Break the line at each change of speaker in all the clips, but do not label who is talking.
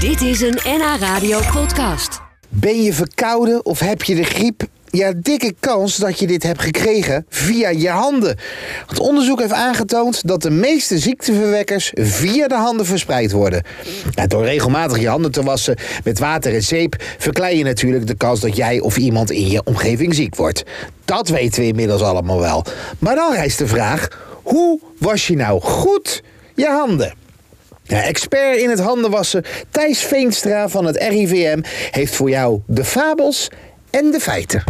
Dit is een NH Radio podcast.
Ben je verkouden of heb je de griep? Ja, dikke kans dat je dit hebt gekregen via je handen. Het onderzoek heeft aangetoond dat de meeste ziekteverwekkers via de handen verspreid worden. Ja, door regelmatig je handen te wassen met water en zeep verklein je natuurlijk de kans dat jij of iemand in je omgeving ziek wordt. Dat weten we inmiddels allemaal wel. Maar dan rijst de vraag: hoe was je nou goed je handen? Ja, expert in het handenwassen, Thijs Veenstra van het RIVM, heeft voor jou de fabels en de feiten.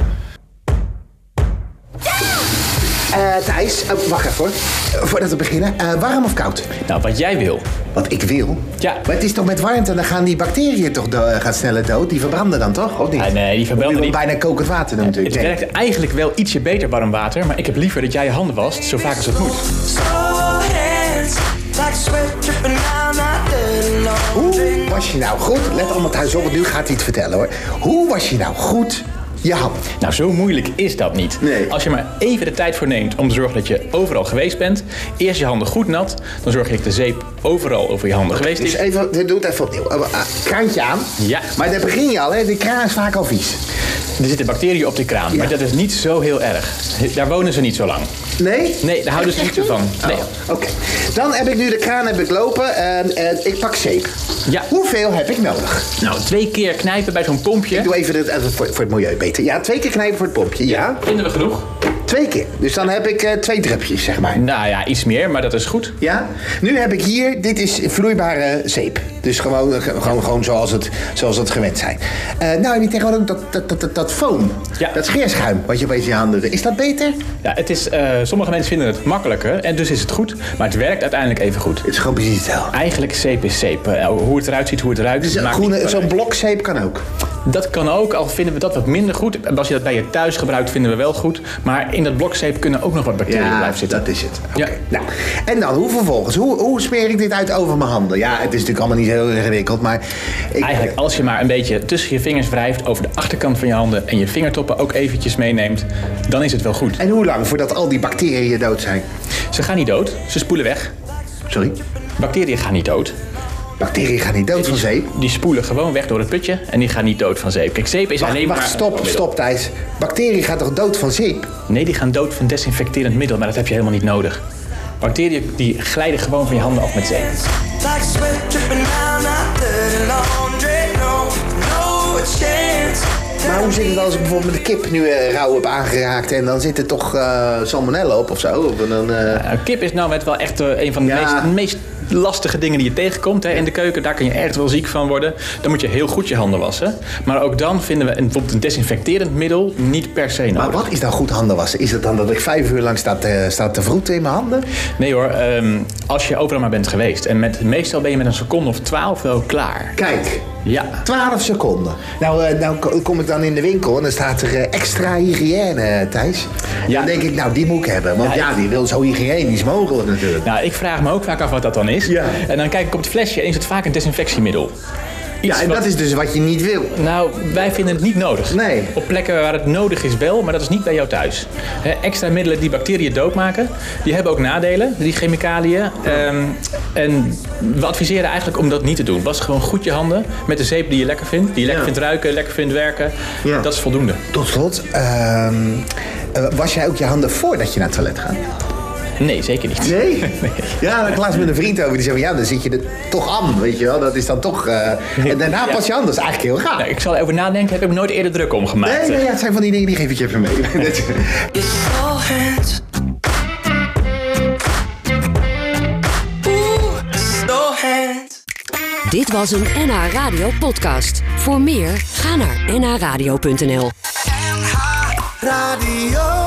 Eh, Thijs, eh, wacht even hoor. Eh, voordat we beginnen, eh, warm of koud?
Nou, wat jij wil.
Wat ik wil.
Ja.
Maar het is toch met warmte, dan gaan die bacteriën toch do- eh, gaan sneller dood? Die verbranden dan toch? Of niet?
Ah, nee, die verbranden
Moet je wel
niet.
bijna kokend water doen
Het
natuurlijk. denk ik.
werkt eigenlijk wel ietsje beter warm water, maar ik heb liever dat jij je handen wast zo vaak als het moet.
So hands like sweat dripping down my dirty
Hoe
laundry.
was je nou goed? Let allemaal thuis op, want nu gaat hij het vertellen hoor. Hoe was je nou goed je hand?
Nou, zo moeilijk is dat niet.
Nee.
Als je maar even de tijd voor neemt om te zorgen dat je overal geweest bent, eerst je handen goed nat, dan zorg je dat de zeep overal over je handen geweest
Dus
is.
even, doe het even opnieuw. Eh, eh, Kraantje aan.
Ja.
Maar daar begin je al, hè? De kraan is vaak al vies.
Er zitten bacteriën op de kraan, maar dat is niet zo heel erg. Daar wonen ze niet zo lang.
Nee?
Nee, daar houden ze niet zo van. Nee.
Oké. Dan heb ik nu de kraan heb ik lopen en eh, ik pak zeep.
Ja.
Hoeveel heb ik nodig?
Nou, twee keer knijpen bij zo'n
Ik
pompje.
doe even dit eh, voor, voor het milieu beter. Ja, twee keer knijpen voor het pompje. Ja.
Vinden we genoeg?
Twee keer. Dus dan heb ik eh, twee drupjes, zeg maar.
Nou ja, iets meer, maar dat is goed.
Ja, nu heb ik hier, dit is vloeibare zeep. Dus gewoon, eh, gewoon, gewoon zoals, het, zoals het gewend zijn. Eh, nou, heb je tegenwoordig ook dat, dat, dat, dat, dat foam,
Ja.
dat scheerschuim wat je opeens in je handen doet. Is dat beter?
Ja, het is, eh, sommige mensen vinden het makkelijker en dus is het goed, maar het werkt uiteindelijk even goed.
Het is gewoon precies hetzelfde.
Eigenlijk zeep is zeep. Eh, hoe het eruit ziet, hoe het ruikt.
Dus een
maakt
groene-
niet
Zo'n
uit.
blokzeep kan ook.
Dat kan ook, al vinden we dat wat minder goed. En Als je dat bij je thuis gebruikt, vinden we wel goed. Maar in dat blokzeep kunnen ook nog wat bacteriën blijven zitten.
dat is het. Oké.
Ja.
Nou, en dan, hoe vervolgens? Hoe, hoe smeer ik dit uit over mijn handen? Ja, het is natuurlijk allemaal niet heel ingewikkeld, maar... Ik,
Eigenlijk als je maar een beetje tussen je vingers wrijft over de achterkant van je handen en je vingertoppen ook eventjes meeneemt, dan is het wel goed.
En hoe lang voordat al die bacteriën dood zijn?
Ze gaan niet dood, ze spoelen weg.
Sorry?
Bacteriën gaan niet dood.
Bacteriën gaan niet dood van zeep.
Die spoelen gewoon weg door het putje en die gaan niet dood van zeep. Kijk, zeep is
Wacht,
alleen
wacht,
maar... Oh,
stop, stop Thijs. Bacteriën gaat toch dood van zeep?
Nee, die gaan dood van desinfecterend middel, maar dat heb je helemaal niet nodig. Bacteriën die glijden gewoon van je handen af met zeep.
Like sweat dripping down my dirty laundry. No, no chance.
Maar hoe zit het als ik bijvoorbeeld met de kip nu eh, rauw heb aangeraakt en dan zit er toch eh, salmonella op of zo? Of dan, eh,
Nou, kip is nou net wel echt eh, een van de
Ja.
meest, meest lastige dingen die je tegenkomt hè, in de keuken. Daar kan je echt wel ziek van worden. Dan moet je heel goed je handen wassen. Maar ook dan vinden we een, bijvoorbeeld een desinfecterend middel niet per se nodig.
Maar wat is dan goed handen wassen? Is het dan dat ik vijf uur lang sta te, sta te vroeten in mijn handen?
Nee hoor, ehm, als je overal maar bent geweest. En met, meestal ben je met een seconde of twaalf wel klaar.
Kijk,
Ja.
12 seconden. Nou, eh, nou ko- kom ik dan in de winkel en dan staat er eh, extra hygiëne, eh, Thijs. Ja.
Ja.
Dan denk ik, nou, die moet ik hebben. Want ja,
Ja,
die wil zo hygiënisch mogelijk natuurlijk.
Nou, ik vraag me ook vaak af wat dat dan is.
Ja.
En dan kijk ik op het flesje en is het vaak een desinfectiemiddel. Iets
Ja, en
wat-
dat is dus wat je niet wil.
Nou, wij vinden het niet nodig.
Nee.
Op plekken waar het nodig is wel, maar dat is niet bij jou thuis. Hè, extra middelen die bacteriën doodmaken, die hebben ook nadelen, die chemicaliën. Ehm, en we adviseren eigenlijk om dat niet te doen. Was gewoon goed je handen met de zeep die je lekker vindt. Die je lekker
Ja.
vindt ruiken, lekker vindt werken.
Ja.
Dat is voldoende.
Tot slot, ehm, eh, was jij ook je handen voordat je naar het toilet gaat?
Nee, zeker niet.
Nee? Ja, ik laatst met een vriend over. Die zei van, ja, dan zit je er toch aan, weet je wel. Dat is dan toch... eh, En daarna pas je handen. Dat is eigenlijk heel raar.
Nou, ik zal erover nadenken, heb ik me nooit eerder druk om gemaakt. eh,
Nee, nee, ja, het zijn van die dingen die geef ik je even mee.
It's so hands. Ooh, it's so hands.
Dit was een NH Radio podcast. Voor meer, ga naar nhradio.nl.
Radio.